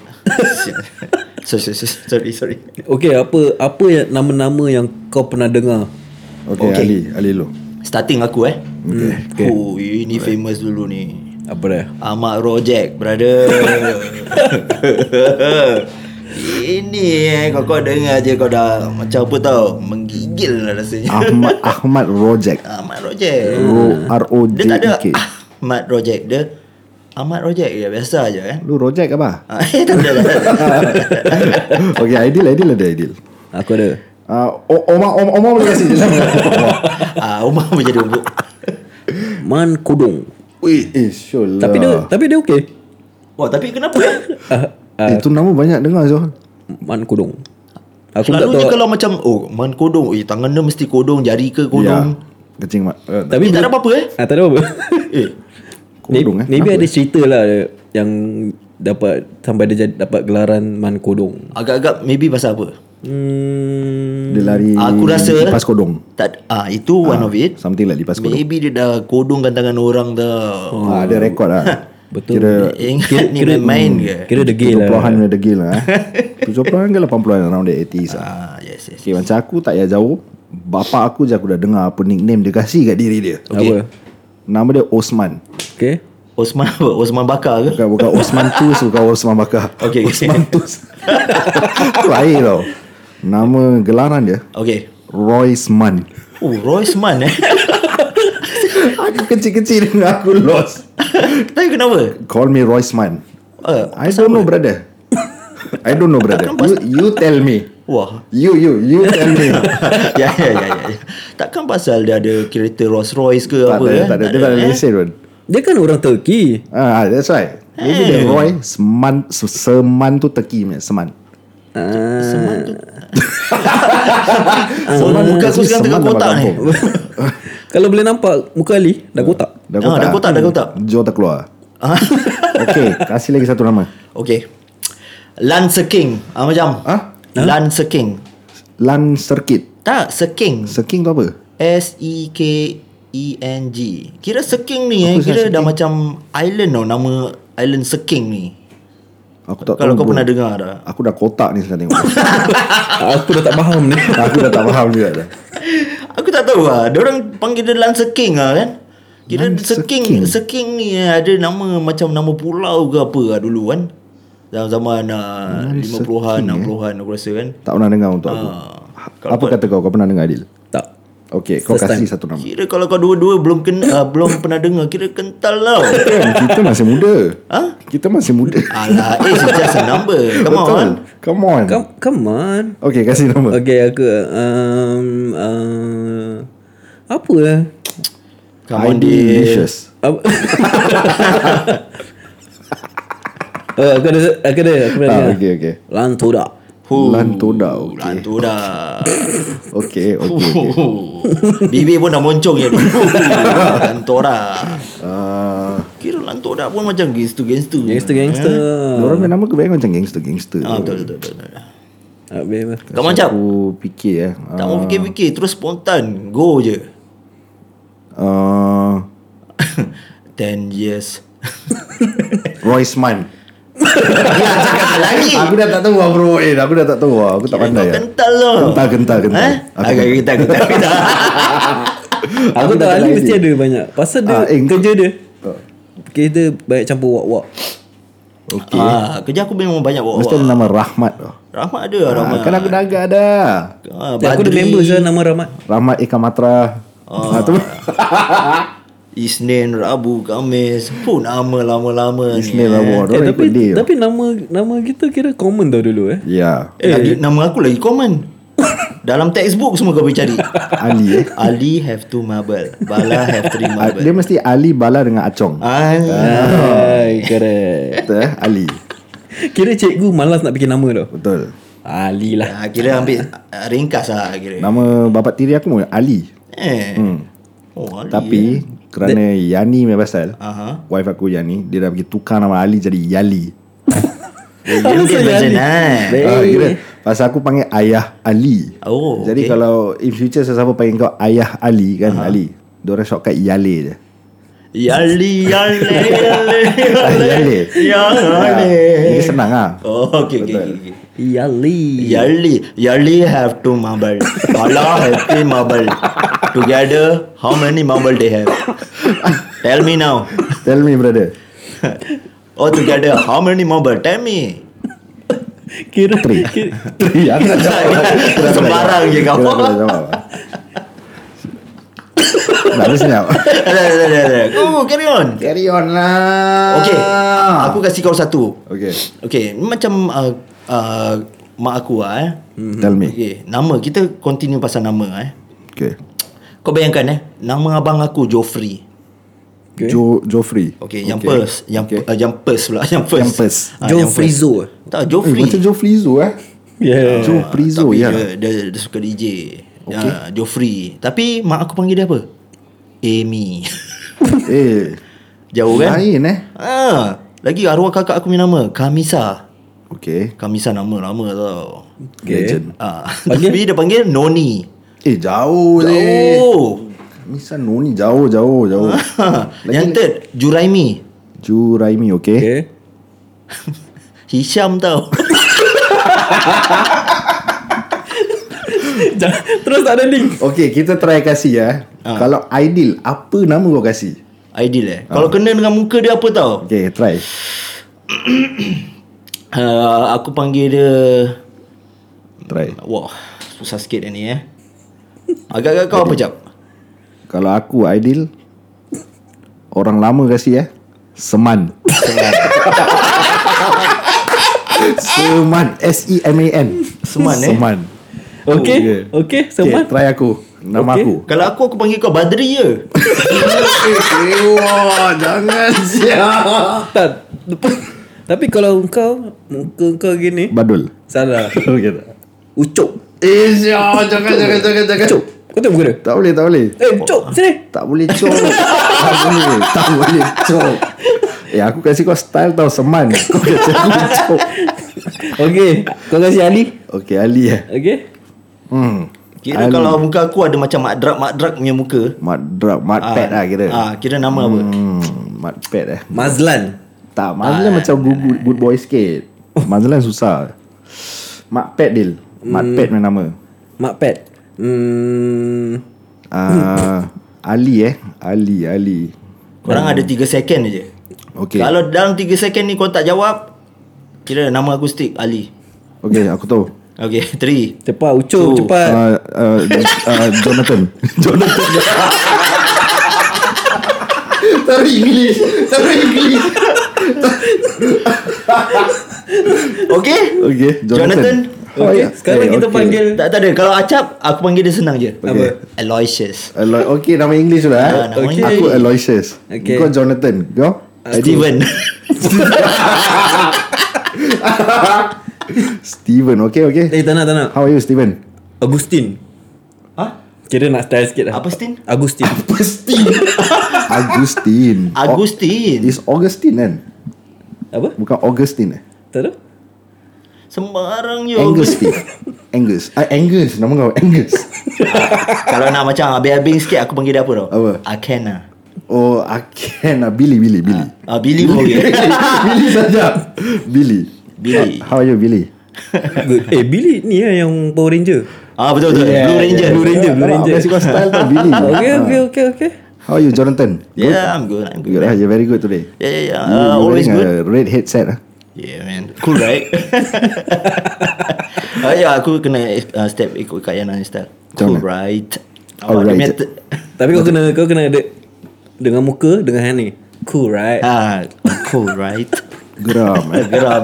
Speaker 3: sorry, sorry, sorry, sorry.
Speaker 1: Okey, apa apa yang nama-nama yang kau pernah dengar?
Speaker 2: Okay,
Speaker 3: Okay.
Speaker 2: Ali Ali lo
Speaker 3: Starting aku eh.
Speaker 2: Okay,
Speaker 3: Okay. Huh, ini famous dulu ni.
Speaker 1: Apa dia?
Speaker 3: Ahmad Rojek, brother. ini eh kau kau dengar je kau dah macam apa tau, menggigil lah rasanya.
Speaker 2: Ahmad Ahmad Rojek
Speaker 3: Ah, Ahmad Rojek.
Speaker 2: R O J
Speaker 3: Dia tak ada Ah,
Speaker 2: E K
Speaker 3: Ahmad Rojek Dia Ahmad Rojek je Biasa je eh
Speaker 2: Lu Rojek apa?
Speaker 3: Ah, Eh tak boleh
Speaker 2: okay Aidil Aidil ada Aidil
Speaker 1: Aku ada.
Speaker 2: Uh, Omar Omar Omar boleh kasi
Speaker 3: ah, Umar pun jadi ubuk
Speaker 1: Man Kudung. Ya.
Speaker 2: Wih Eh syol
Speaker 1: Tapi dia tapi dia okey.
Speaker 3: Wah tapi kenapa eh
Speaker 1: Ah, ah,
Speaker 2: Itu nama banyak dengar Zohar
Speaker 1: Man Kudung. Aku tak
Speaker 3: Selalunya
Speaker 1: tahu.
Speaker 3: kalau macam Oh man kodong Eh tangan dia mesti kodong Jari ke
Speaker 2: Ya
Speaker 3: kodong
Speaker 2: Kencing mak
Speaker 1: Tapi
Speaker 2: Eh,
Speaker 3: Eh, tak
Speaker 1: bila-
Speaker 3: ada apa-apa eh
Speaker 1: Ah, tak ada apa.
Speaker 3: Eh
Speaker 2: Kodong
Speaker 1: May-
Speaker 2: eh
Speaker 1: Maybe ada cerita lah dia yang dapat sampai dia jad- dapat gelaran Man Kudung.
Speaker 3: Agak-agak maybe pasal apa
Speaker 1: Hmm.
Speaker 2: Dia lari
Speaker 3: Aku rasa
Speaker 2: Lepas kodong
Speaker 3: tak, ah, Itu one of it
Speaker 2: Something like lipas kodong
Speaker 3: Maybe dia dah kodongkan tangan orang tau
Speaker 2: oh. Ada rekod lah
Speaker 1: Betul.
Speaker 2: Kira
Speaker 3: Ingat ni main, main ke
Speaker 1: Kira degil lah.
Speaker 2: 70-an lah. degil lah eh. 70-an ke 80-an Around the 80s lah
Speaker 3: ah, Yes yes
Speaker 2: Okay macam aku tak payah jauh Bapa aku je aku dah dengar Apa nickname dia kasih kat diri dia
Speaker 1: Apa?
Speaker 2: Nama dia Osman
Speaker 1: Okey.
Speaker 3: Osman apa Osman Bakar ke
Speaker 2: Bukan, bukan Osman Tus Bukan Osman Bakar
Speaker 3: Okay.
Speaker 2: Osman Tus Aku air tau Nama gelaran dia
Speaker 3: Okay
Speaker 2: Royce Man
Speaker 3: Oh Royce Man eh
Speaker 2: Aku kecil-kecil dengan aku lost
Speaker 3: Tapi kenapa?
Speaker 2: Call me Royce Man
Speaker 3: Uh,
Speaker 2: I don't know brother I don't know brother
Speaker 3: Kan
Speaker 2: You, you tell me
Speaker 3: wah.
Speaker 2: You you you tell me
Speaker 3: ya, ya, ya, ya, ya. Takkan pasal dia ada kereta Rolls Royce ke
Speaker 2: Tak
Speaker 3: apa
Speaker 2: ada
Speaker 3: eh?
Speaker 2: tak ada Dia tak ada lesen pun
Speaker 1: Dia kan orang Turki.
Speaker 2: Ah, that's right Maybe the
Speaker 3: Eh.
Speaker 2: Roy Seman se- Seman tu teki punya Seman
Speaker 1: Ah,
Speaker 3: Orang muka aku
Speaker 2: Tapi
Speaker 3: sekarang tengah
Speaker 2: Ah, Seman
Speaker 3: kotak
Speaker 2: dalam
Speaker 3: ni.
Speaker 2: kampung.
Speaker 1: kalau boleh nampak muka Ali dah kotak.
Speaker 2: Dah
Speaker 3: Ah, dah kotak, dah kotak.
Speaker 2: Hmm. Joe tak keluar Okay Kasih lagi satu nama
Speaker 3: Okay. Lancer King. Ah, macam.
Speaker 2: Hah?
Speaker 3: Lancer King.
Speaker 2: Lan Serkit
Speaker 3: Tak, Seking. E
Speaker 2: Serking tu apa?
Speaker 3: S-E-K ENG. Kira Seking ni eh, kira dah macam island tau nama island Seking ni.
Speaker 2: Aku tak
Speaker 3: Kalau
Speaker 2: tahu
Speaker 3: kau
Speaker 2: bro.
Speaker 3: pernah dengar dah.
Speaker 2: Aku dah kotak ni sekarang tengok
Speaker 1: Aku dah tak faham ni
Speaker 2: Aku dah tak faham juga dah
Speaker 3: Aku tak tahu lah Diorang panggil dia Lan Seking lah kan Kira Lan
Speaker 2: Seking.
Speaker 3: Seking Seking ni eh, ada nama Macam nama pulau ke apa lah dulu kan Zaman-zaman uh, 50-an 60-an aku rasa kan
Speaker 2: Tak pernah dengar untuk aku
Speaker 3: Ah, kalau
Speaker 2: Apa kata kau? Kau pernah dengar Adil?
Speaker 1: Tak
Speaker 2: Okay kau
Speaker 1: First
Speaker 2: kasih satu nama
Speaker 3: Kira kalau kau dua-dua belum kena, uh, belum pernah dengar Kira kental tau
Speaker 2: Kan kita masih muda
Speaker 3: Ha?
Speaker 2: Kita masih muda
Speaker 3: Alah eh it's just a number Come on
Speaker 2: Betul
Speaker 3: man.
Speaker 2: Come on
Speaker 1: Come, come on
Speaker 2: Okay kasih nama
Speaker 1: Okay aku um, uh, Apa lah
Speaker 3: Come on dear
Speaker 2: Delicious
Speaker 1: Apa? oh, aku ada aku ada aku ada.
Speaker 2: Ah, okay, okay.
Speaker 1: Lantura.
Speaker 3: Oh,
Speaker 2: Lantoda Okay
Speaker 3: Lan tu dah
Speaker 2: Okay okay, okay.
Speaker 3: Bibi pun dah moncong ya dulu Lantora
Speaker 2: Uh,
Speaker 3: Kira lantok dah pun macam gangster-gangster
Speaker 1: Gangster gangster.
Speaker 2: Diorang punya nama kebanyakan macam gangster-gangster
Speaker 3: Ah, betul, betul, betul, betul.
Speaker 1: Tak boleh. apa.
Speaker 3: Kau macam
Speaker 2: Hmm. Aku fikir eh
Speaker 3: tak mau fikir-fikir terus spontan go je.
Speaker 2: uh,
Speaker 3: 10 years.
Speaker 2: Royce Man
Speaker 3: ya, cakap lagi.
Speaker 2: Aku dah tak tahu lah bro Eh aku dah tak tahu lah Aku tak pandai
Speaker 3: Kau
Speaker 2: lah
Speaker 3: kental lah.
Speaker 2: Kental, kental, kental.
Speaker 3: Eh?
Speaker 2: Aku
Speaker 3: Agak kental, kental, kental.
Speaker 1: Aku
Speaker 2: tak
Speaker 1: tak
Speaker 2: ada
Speaker 1: Ali mesti
Speaker 2: idea.
Speaker 1: ada banyak. Pasal dia
Speaker 2: Ah, eh,
Speaker 1: kerja dia. Kerja dia banyak campur wak-wak.
Speaker 2: Okay
Speaker 3: Ah, kerja aku memang banyak bawa.
Speaker 2: Mesti ada nama Rahmat tau
Speaker 3: Rahmat ada lah,
Speaker 2: Ah,
Speaker 3: Rahmat.
Speaker 2: Kan aku dah agak dah
Speaker 3: Ah,
Speaker 1: Dan Aku ada
Speaker 3: Badri,
Speaker 1: member saya
Speaker 2: eh.
Speaker 1: nama Rahmat.
Speaker 2: Rahmat Eka Matra ah. tu
Speaker 3: Isnin, Rabu, Khamis. Pun nama lama-lama ni.
Speaker 2: Isnin lah buat
Speaker 1: Eh,
Speaker 2: Orang
Speaker 1: tapi
Speaker 2: ikut dia
Speaker 1: tapi nama nama kita kira common tau dulu eh.
Speaker 2: Ya
Speaker 3: Eh, lagi, nama aku lagi common. Dalam textbook semua kau boleh cari.
Speaker 2: Ali eh
Speaker 3: Ali have two marble Bala have three
Speaker 2: Ah,
Speaker 3: marble
Speaker 2: Dia mesti Ali Bala dengan Acong
Speaker 3: Ah,
Speaker 1: Hai, keren.
Speaker 2: Betul eh Ali
Speaker 1: Kira cikgu malas nak fikir nama tau.
Speaker 2: Betul
Speaker 1: Ali lah.
Speaker 3: ah, Kira ambil ah, Ringkas lah kira
Speaker 2: Nama bapak tiri aku pun Ali
Speaker 3: Eh
Speaker 2: hmm.
Speaker 3: Oh Ali
Speaker 2: Tapi Kerana Yani punya pasal
Speaker 3: Aha.
Speaker 2: Wife aku Yani Dia dah pergi tukar nama Ali jadi Yali
Speaker 3: You can imagine eh
Speaker 1: Eh.
Speaker 2: Ah, kira, Pasal aku panggil Ayah Ali
Speaker 3: Oh
Speaker 2: Jadi okay.
Speaker 3: okay.
Speaker 2: kalau In future sesiapa panggil kau Ayah Ali kan uh-huh. Ali Diorang shortcut Yale je
Speaker 3: Yali Yali Yali Ya,
Speaker 2: Yale
Speaker 3: Ah, Yali
Speaker 2: Ini Ya. senang lah
Speaker 3: Oh okay okay, okay, okay.
Speaker 1: Yali.
Speaker 3: Yali Yali have two marble Bala have three marble Together How many marble they have Tell me now
Speaker 2: Tell me brother
Speaker 3: Oh together How many marble Tell me
Speaker 1: Kira kira-
Speaker 2: Aku nak jawab
Speaker 3: Sembarang je kau.
Speaker 2: Aku nak jawab Nak habis senyap
Speaker 3: Dah, dah, dah, dah. Go carry on
Speaker 2: Carry on lah
Speaker 3: Okay Aku kasih kau satu
Speaker 2: Okay
Speaker 3: Okay ni Macam uh, uh, Mak aku lah eh
Speaker 2: Tell me
Speaker 3: Okay Nama kita continue pasal nama eh
Speaker 2: Okay
Speaker 3: Kau bayangkan eh Nama abang aku Joffrey
Speaker 1: Okay.
Speaker 2: Jo Joffrey
Speaker 3: Okay, yang first Yang, okay. uh, yang first pula Yang first
Speaker 2: Yang first.
Speaker 3: Ah,
Speaker 1: Joe
Speaker 3: yang first.
Speaker 1: Frizzo.
Speaker 3: Tak
Speaker 2: Eh,
Speaker 3: Joffrey Ah,
Speaker 2: macam Joffrey Zoo eh
Speaker 1: Yeah.
Speaker 2: Joffrey Zoo
Speaker 3: Tapi
Speaker 2: ya
Speaker 3: dia, dia, dia suka DJ okay. uh, Joffrey Tapi mak aku panggil dia apa? Amy
Speaker 2: Eh
Speaker 3: Jauh kan?
Speaker 2: Lain eh
Speaker 3: Ah, lagi arwah kakak aku punya nama Kamisa
Speaker 2: Okay
Speaker 3: Kamisa nama lama tau
Speaker 1: Okay.
Speaker 2: Legend
Speaker 3: Ah, tapi dia panggil Noni.
Speaker 2: Eh jauh eh. je
Speaker 3: Oh.
Speaker 2: Misan Noni jauh jauh jauh
Speaker 3: Ha, Yang third, Juraimi.
Speaker 2: Ju Raimi okay, okay.
Speaker 1: Okay.
Speaker 3: Hisham tau.
Speaker 1: Jangan- Terus tak ada link.
Speaker 2: kita try kasih ya.
Speaker 3: Ah.
Speaker 2: Ha. Kalau ideal apa nama kau kasih?
Speaker 3: Ideal eh. Kalau
Speaker 2: Ah.
Speaker 3: kena dengan muka dia apa tau?
Speaker 2: Okay try.
Speaker 3: Uh, aku panggil dia
Speaker 2: Try.
Speaker 3: Wah, susah sikit ni eh. Agak-agak kau apa jap?
Speaker 2: Kalau aku ideal orang lama kasih ya. Seman. Seman S E M A N.
Speaker 3: Seman, eh?
Speaker 2: Seman.
Speaker 1: Oh, Okay.
Speaker 2: yeah.
Speaker 1: Okay.
Speaker 2: Oh, Okay,
Speaker 1: Semat.
Speaker 2: try aku. Nama
Speaker 1: Okay.
Speaker 2: aku.
Speaker 3: Kalau aku aku panggil kau Badri je.
Speaker 2: Ewa, Eh, jangan siap.
Speaker 1: Tak. Lepas- Tapi kalau kau muka kau gini
Speaker 2: Badul.
Speaker 1: salah.
Speaker 2: Okay. tak?
Speaker 1: Ucup.
Speaker 2: Eh, siap. Jangan, jangan, jangan, jangan.
Speaker 1: Ucup. Kau tengok muka dia.
Speaker 2: Tak boleh, tak boleh.
Speaker 1: Eh, Ucup sini.
Speaker 2: Tak boleh cok Tak boleh Tak boleh cok Eh aku kasih kau style tau Seman Kau kasi aku cok
Speaker 1: Okay. Kau kasih Ali.
Speaker 2: Okay Ali eh
Speaker 1: Okay.
Speaker 2: Hmm
Speaker 3: Kira
Speaker 2: Aduh.
Speaker 3: kalau muka aku ada macam madrak-madrak punya muka.
Speaker 2: Mud drug Mud pad lah kira
Speaker 3: Ah, kira nama apa?
Speaker 2: hmm, Mud pad eh
Speaker 1: Mazlan
Speaker 2: Tak
Speaker 3: Ah.
Speaker 2: Mazlan macam good, good, good boy sikit
Speaker 3: Oh.
Speaker 2: Mazlan susah Mud pad deal Mud
Speaker 3: Hmm.
Speaker 2: pad punya nama
Speaker 1: Mak Pet Hmm
Speaker 2: Ah, Ali eh Ali Ali
Speaker 3: Korang
Speaker 2: Hmm.
Speaker 3: ada 3 second je. Okay.
Speaker 2: Okay
Speaker 3: Kalau dalam 3 second ni kau tak jawab, kira nama aku stick Ali.
Speaker 2: Okay aku tahu
Speaker 3: Okay, 3.
Speaker 1: Cepat Ucup
Speaker 3: Oh.
Speaker 1: cepat
Speaker 2: uh, uh, uh, Jonathan Jonathan Tapi English Tapi English
Speaker 3: Okay?
Speaker 2: Okay
Speaker 3: Jonathan.
Speaker 2: Jonathan, Oh, ya. eh,
Speaker 1: Okay Sekarang kita panggil
Speaker 3: Tak, tak ada. Kalau acap, aku panggil dia senang je.
Speaker 1: Apa
Speaker 3: Aloysius.
Speaker 2: Alo- okay nama English sudah eh?
Speaker 3: Ah, nama
Speaker 1: Okay. English.
Speaker 2: Aku Aloysius
Speaker 1: Okay. Ah.
Speaker 2: Kau Jonathan Kau
Speaker 3: Steven.
Speaker 2: Steven Okay okay
Speaker 1: Eh tak nak tak nak
Speaker 2: How are you Steven?
Speaker 1: Agustin
Speaker 3: ha?
Speaker 1: Kira nak style sikit lah
Speaker 3: Apa, Stin?
Speaker 1: Agustin
Speaker 2: Agustin
Speaker 3: Agustin.
Speaker 2: Is Augustine kan?
Speaker 1: Apa
Speaker 2: Bukan Augustine eh?
Speaker 1: Tak tahu
Speaker 3: Sembarang je.
Speaker 2: Angus Steve Angus ah, Angus Nama kau Angus
Speaker 3: Kalau nak macam habis-habis sikit, aku panggil dia apa tau?
Speaker 2: Apa?
Speaker 3: Akena.
Speaker 2: Oh Aken ah, Billy Billy Billy
Speaker 3: Ah, Billy pun boleh.
Speaker 1: Ah.
Speaker 2: Billy saja Billy
Speaker 3: Billy.
Speaker 2: How are you Billy?
Speaker 1: Good Eh Billy ni lah yang Power Ranger
Speaker 3: Ah, betul-betul. Blue Ranger.
Speaker 1: Blue Ranger Blue Ranger
Speaker 2: Ah, Basic style tau Billy
Speaker 1: Okay okay okay okay
Speaker 2: How are you Jonathan?
Speaker 3: Yeah, I'm good. I'm
Speaker 2: Good
Speaker 3: good.
Speaker 2: ah, You're very good today
Speaker 3: Yeah, yeah, yeah.
Speaker 2: You-
Speaker 3: Uh,
Speaker 2: you
Speaker 3: always
Speaker 2: wearing a
Speaker 3: good.
Speaker 2: red headset ah.
Speaker 3: Yeah, man. Cool, right? Ah, ya, aku kena uh, step ikut Kak Yana ni style. Cool,
Speaker 2: Macam
Speaker 3: right?
Speaker 2: Alright.
Speaker 3: Awak dia punya te-
Speaker 1: Tapi kau kena Kau kena ada Dengan muka Dengan honey Cool right
Speaker 3: Ah, cool, right?
Speaker 2: Geram eh.
Speaker 3: Geram.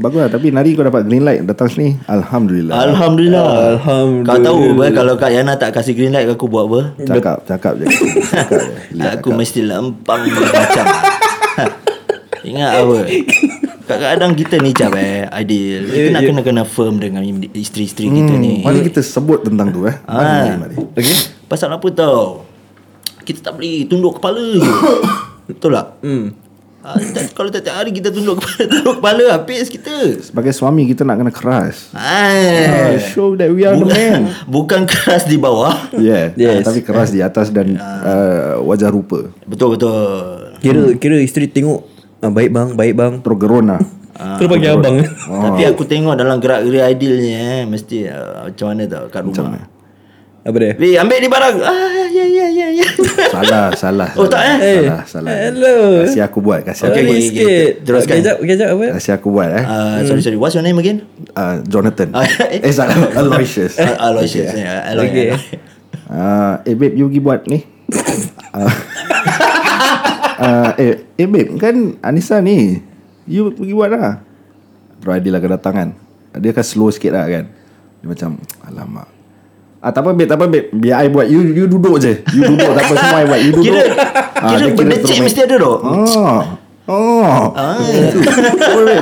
Speaker 2: Bagus lah Tapi nari kau dapat green light Datang sini Alhamdulillah
Speaker 3: Alhamdulillah.
Speaker 1: Alhamdulillah.
Speaker 3: Kau tahu apa kalau Kak Yana tak kasih green light aku buat apa?
Speaker 2: Cakap Cakap je Cakap je Lihat
Speaker 3: aku mesti lempang macam. Ha. Ingat apa? Kadang-kadang kita ni cap eh Ideal Kita nak kena-kena firm dengan isteri-isteri kita ni Ah.
Speaker 2: Hmm, Mari kita sebut tentang tu eh. Mari, mari.
Speaker 1: Okay
Speaker 3: Pasal apa tau Kita tak boleh tunduk kepala je Betul tak? Hmm. Ha, tak- kalau tak tiap hari kita tunduk kepala Tunduk kepala habis kita
Speaker 2: Sebagai suami kita nak kena keras. Ah,
Speaker 3: Hai.
Speaker 2: show that we are the
Speaker 3: Bukan,
Speaker 2: man.
Speaker 3: bukan keras di bawah
Speaker 2: Yeah, Ah,
Speaker 1: Yes.
Speaker 2: tapi keras di atas dan uh, wajah rupa.
Speaker 3: Betul-betul
Speaker 1: Kira kira isteri tengok ah, Baik bang Baik bang
Speaker 2: Terus gerun lah.
Speaker 1: Terus panggil abang
Speaker 3: Tapi aku tengok dalam gerak-gerik idealnya eh Mesti uh, macam mana tau kat rumah
Speaker 1: Apa dia
Speaker 3: Weh ambil ni barang ah, Ya ya ya ya
Speaker 2: salah, salah.
Speaker 3: Oh, tak,
Speaker 2: salah,
Speaker 1: eh?
Speaker 2: Salah, salah.
Speaker 1: Hello.
Speaker 2: Kasih aku buat, kasih
Speaker 3: Okay,
Speaker 1: Okay, okay,
Speaker 2: okay. aku.
Speaker 3: okay,
Speaker 1: sikit.
Speaker 3: okay. Teruskan.
Speaker 1: Okay, jap, okay, jap, apa?
Speaker 2: Kasih aku buat eh.
Speaker 3: uh, Sorry sorry What's your name again?
Speaker 2: Uh, Jonathan.
Speaker 3: Ah, eh.
Speaker 2: eh, salah. Aloysius.
Speaker 3: Uh, Aloysius yeah. Aloy,
Speaker 1: Okay.
Speaker 3: Aloy.
Speaker 2: Uh, eh, babe, you pergi buat ni. Uh, uh, eh, eh, babe, kan Anissa ni. You pergi buat lah. Terus Adil akan datang kan. Dia akan slow sikit lah kan. Dia macam, alamak. Ah, tak apa babe, tak apa babe. Biar I buat. You you duduk je. You duduk, tak apa semua I buat. You duduk.
Speaker 3: Kira
Speaker 2: Ah,
Speaker 3: Kira
Speaker 2: dia
Speaker 3: benda
Speaker 2: terus
Speaker 3: cek
Speaker 2: main.
Speaker 3: mesti ada dok
Speaker 2: Oh. Oh. Ah.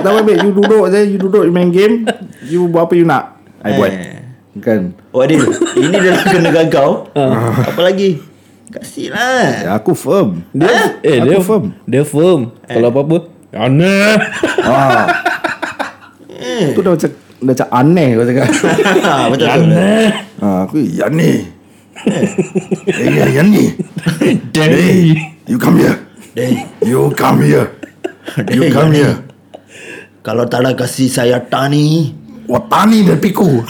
Speaker 2: tak apa babe, tak apa babe. You duduk je. You duduk, you main game. You buat apa you nak. I buat.
Speaker 3: Eh.
Speaker 2: Kan.
Speaker 3: Oh Adil Ini dalam kenakan kau Apa lagi lah. Kasihlah
Speaker 2: Ha. Ya, aku firm.
Speaker 1: Dia, eh,
Speaker 2: Aku
Speaker 1: dia
Speaker 2: firm.
Speaker 1: firm. Dia firm. Kalau apa-apa. Aneh.
Speaker 2: Ah. Tu dah macam dah macam aneh kau cakap.
Speaker 3: Ah, Betul betul
Speaker 2: ah, aku yang ni. Eh, yang, yang ni. Hey, you come here. You come here. You come here.
Speaker 3: Kalau tak nak kasih saya tani
Speaker 2: Watani dan piku.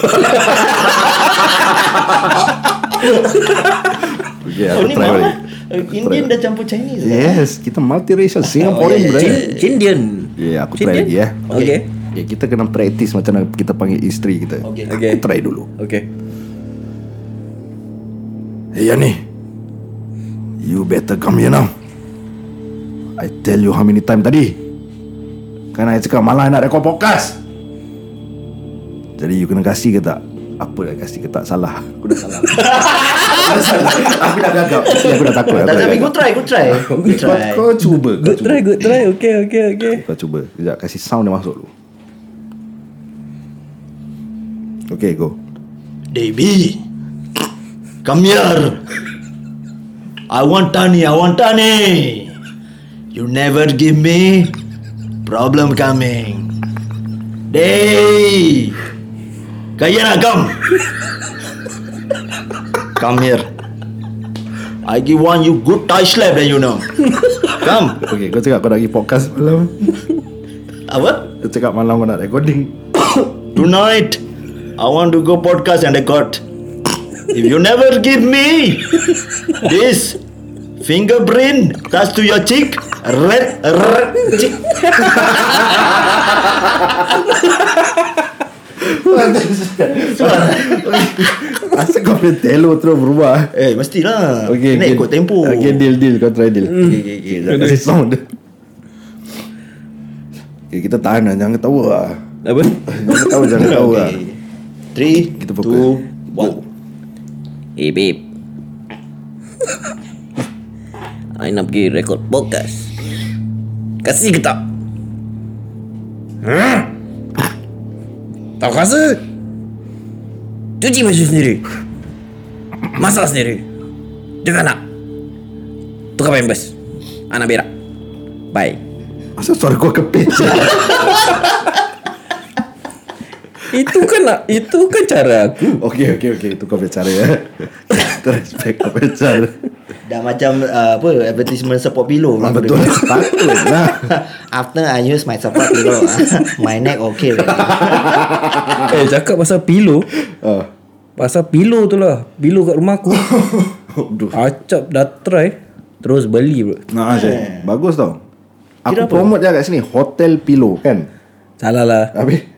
Speaker 2: okay, Ya, aku
Speaker 3: Oh ni
Speaker 2: try balik.
Speaker 3: mana Indian dah campur Chinese eh?
Speaker 2: Yes, kita multiracial
Speaker 1: Oh,
Speaker 2: Singaporean brother.
Speaker 1: Indian.
Speaker 2: Yeah, aku try lagi ya.
Speaker 1: Okay.
Speaker 2: Okay, kita kena praktis macam mana kita panggil isteri kita.
Speaker 3: Okay.
Speaker 1: Okay.
Speaker 2: Aku try dulu.
Speaker 1: Okay.
Speaker 2: Hey Yanni Eh, Ya You better come here now I tell you how many time tadi Kan I cakap malah I nak rekod podcast Jadi you kena kasih ke tak? Apa dah kasih ke tak? Salah Aku dah salah Aku dah salah Aku dah gagal Actually, Aku dah takut Aku
Speaker 3: Tak
Speaker 2: dah
Speaker 3: tapi
Speaker 2: gagal
Speaker 3: kau try Kau try Kau
Speaker 2: kau,
Speaker 3: try
Speaker 2: kau cuba Kau
Speaker 1: Good
Speaker 2: cuba
Speaker 1: try, good try. Okay, okay, okay.
Speaker 2: Kau cuba Sekejap kasih sound dia masuk dulu Okay go
Speaker 3: Devi, come here. I want Tani, I want Tani. You never give me problem coming. Dey, Kayana, come. Come here. I give one you good Thai slap then you know. Come.
Speaker 2: Okay kau cakap kau nak pergi podcast malam
Speaker 3: Apa?
Speaker 2: Kau cakap malam kau nak recording
Speaker 3: Tonight, I want to go podcast and record. If you never give me this fingerprint touch to your cheek, red, red cheek.
Speaker 2: Asal kau punya telo terus berubah
Speaker 3: Eh, mestilah.
Speaker 2: Okay,
Speaker 3: Kena ikut tempo. Hmm.
Speaker 2: Okay deal deal Kau try deal
Speaker 3: okay, okay, okay.
Speaker 2: Dah kasih sound dia okay, Kita tahan lah Jangan ketawa lah
Speaker 1: Apa?
Speaker 2: Jangan ketawa Jangan ketawa lah
Speaker 3: Okay. Three,
Speaker 2: Kita fokus.
Speaker 3: two, one.
Speaker 1: Hey Eh, babe I nak pergi rekod podcast Kasih ke tak? Ha? Tak kasih Cuci baju sendiri Masak sendiri Dengan anak Tukar pampers Anak berak Bye
Speaker 2: Asal suara kau kepit je
Speaker 1: Itu kan Itu kan cara aku
Speaker 2: Okay okay okay Itu kau punya cara ya Kita respect kau punya cara
Speaker 3: Dah macam uh, apa advertisement support pillow
Speaker 2: Ah, Betul lah Takut lah
Speaker 3: After I use my support pillow, my neck okay. already.
Speaker 1: Eh cakap pasal pilo
Speaker 2: Ah.
Speaker 1: Pasal pilo tu lah Pilo kat rumah aku
Speaker 2: Aduh
Speaker 1: Acap dah try Terus beli bro
Speaker 2: Nah, Syed. Eh. Bagus tau Aku promote je kat sini Hotel Pillow kan
Speaker 1: Salah lah
Speaker 2: Habis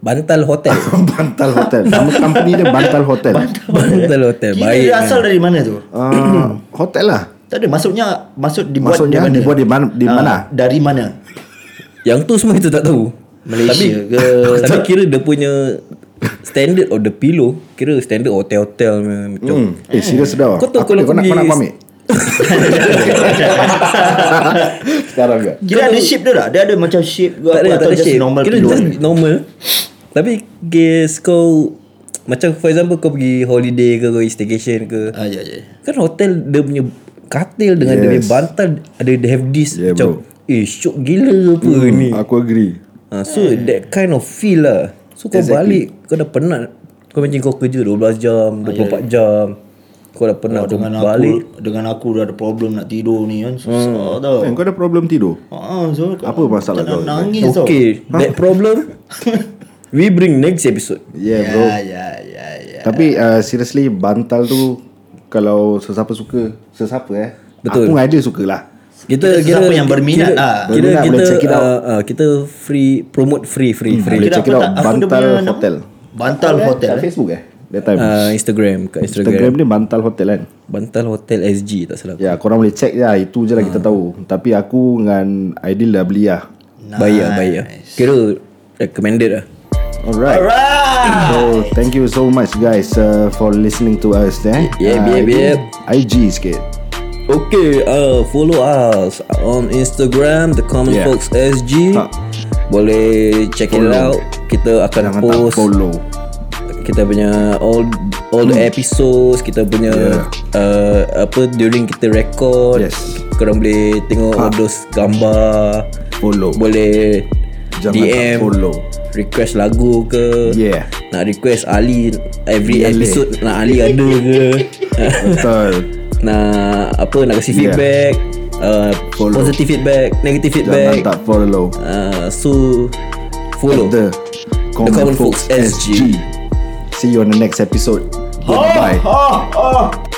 Speaker 1: Bantal hotel
Speaker 2: Bantal Hotel Nama company dia Bantal Hotel
Speaker 1: Bantal hotel
Speaker 3: Gila
Speaker 1: Baik
Speaker 3: asal dari mana tu?
Speaker 2: Ah, Hotel lah
Speaker 3: Tak ada maksudnya maksud dibuat
Speaker 2: Maksudnya
Speaker 3: dari mana?
Speaker 2: dibuat di mana, di
Speaker 3: Ah,
Speaker 2: mana?
Speaker 3: dari mana?
Speaker 1: Yang tu semua itu tak tahu
Speaker 3: Malaysia ke?
Speaker 1: Tapi kira dia punya Standard of the pillow Kira standard hotel-hotel punya macam
Speaker 2: Hmm. Eh serius sedap
Speaker 1: Kau tahu
Speaker 2: Aku-
Speaker 1: kalau
Speaker 2: kau nak
Speaker 1: pergi-
Speaker 2: kau nak aku ambil Sekarang ke
Speaker 3: Kira ada shape dia tak? Dia ada macam shape ke
Speaker 1: Tak
Speaker 3: apa
Speaker 1: ada, tak
Speaker 3: atau
Speaker 1: ada
Speaker 3: just
Speaker 1: shape
Speaker 3: normal
Speaker 1: Kira
Speaker 3: pillow?
Speaker 1: just normal Tapi guess kau Macam for example kau pergi holiday ke Kau pergi staycation ke
Speaker 3: Ah, ya, ya.
Speaker 1: Kan hotel dia punya katil dengan yes. dia punya
Speaker 2: Yes.
Speaker 1: bantal ada they have this
Speaker 2: Yeah,
Speaker 1: macam eh syok gila apa hmm. ni.
Speaker 2: Aku agree
Speaker 1: Ha, so
Speaker 3: Hmm.
Speaker 1: that kind of feel lah. So kau exactly. balik kau dah penat. Kau macam kau kerja 12 jam, 24 jam. Kau dah penat kau
Speaker 3: Ah, Oh, Dengan
Speaker 1: balik.
Speaker 3: aku, dengan aku dah ada problem nak tidur ni kan. Susah tau.
Speaker 2: Eh, Kau ada problem tidur
Speaker 3: Ah, so,
Speaker 2: Apa masalah
Speaker 3: macam
Speaker 2: kau?
Speaker 3: nak Nangis tau.
Speaker 1: Okay, that problem we bring next episode.
Speaker 2: Yeah bro
Speaker 3: Ya, ya, ya, ya.
Speaker 2: Tapi uh, seriously Bantal tu Kalau sesiapa suka Sesiapa eh
Speaker 1: Betul.
Speaker 2: Aku dengan Aidil suka lah
Speaker 1: Kita
Speaker 3: Kita
Speaker 1: kira
Speaker 3: sesiapa yang berminat
Speaker 1: kira,
Speaker 3: lah.
Speaker 1: Kira
Speaker 2: Berminat
Speaker 1: kita
Speaker 2: boleh check it out. Hmm,
Speaker 1: uh, uh, kita free promote free free free.
Speaker 2: Boleh
Speaker 3: Kira
Speaker 2: check
Speaker 3: aku
Speaker 2: it out
Speaker 3: tak- aku dia
Speaker 2: Bantal
Speaker 3: punya nama-
Speaker 2: Hotel
Speaker 3: Bantal hotel.
Speaker 2: Kat Facebook eh That time
Speaker 1: Uh, Instagram kat Instagram.
Speaker 2: Instagram dia Bantal Hotel kan
Speaker 1: Bantal Hotel SG tak salah.
Speaker 2: Ya korang boleh check lah Itu je lah kita tahu Tapi aku dengan Aidil dah beli lah
Speaker 1: Baik lah baik lah Kira recommended lah
Speaker 2: Alright
Speaker 3: Alright.
Speaker 2: So
Speaker 1: Ah.
Speaker 2: thank you so much guys uh, For listening to us eh
Speaker 1: Yep,
Speaker 2: Uh,
Speaker 1: yep, yep.
Speaker 2: IG sikit
Speaker 1: Okay uh, Follow us On Instagram The Common
Speaker 2: Yeah.
Speaker 1: Folks SG
Speaker 2: Ha.
Speaker 1: Boleh check it
Speaker 2: Follow.
Speaker 1: out Kita akan
Speaker 2: Jangan tak
Speaker 1: post
Speaker 2: follow Hmm.
Speaker 1: Kita punya All all the episodes Kita punya
Speaker 2: Yeah.
Speaker 1: uh, Apa During kita record
Speaker 2: Yes. Ha.
Speaker 1: Korang boleh tengok all those gambar
Speaker 2: Follow
Speaker 1: Boleh
Speaker 2: Jangan
Speaker 1: DM
Speaker 2: tak follow
Speaker 1: Request lagu ke
Speaker 2: Yeah
Speaker 1: Nak request Ali Every
Speaker 2: Boleh.
Speaker 1: episode Nak Ali ada ke
Speaker 2: Betul
Speaker 1: nak apa nak kasi
Speaker 2: Yeah.
Speaker 1: feedback uh,
Speaker 2: Ya. Follow.
Speaker 1: positive feedback negative
Speaker 2: Jangan
Speaker 1: feedback
Speaker 2: tak follow
Speaker 1: uh, so follow
Speaker 2: The Common,
Speaker 1: Common
Speaker 2: Folks
Speaker 1: Folks
Speaker 2: SG. See you on the next episode Goodbye
Speaker 3: Oh, oh, oh.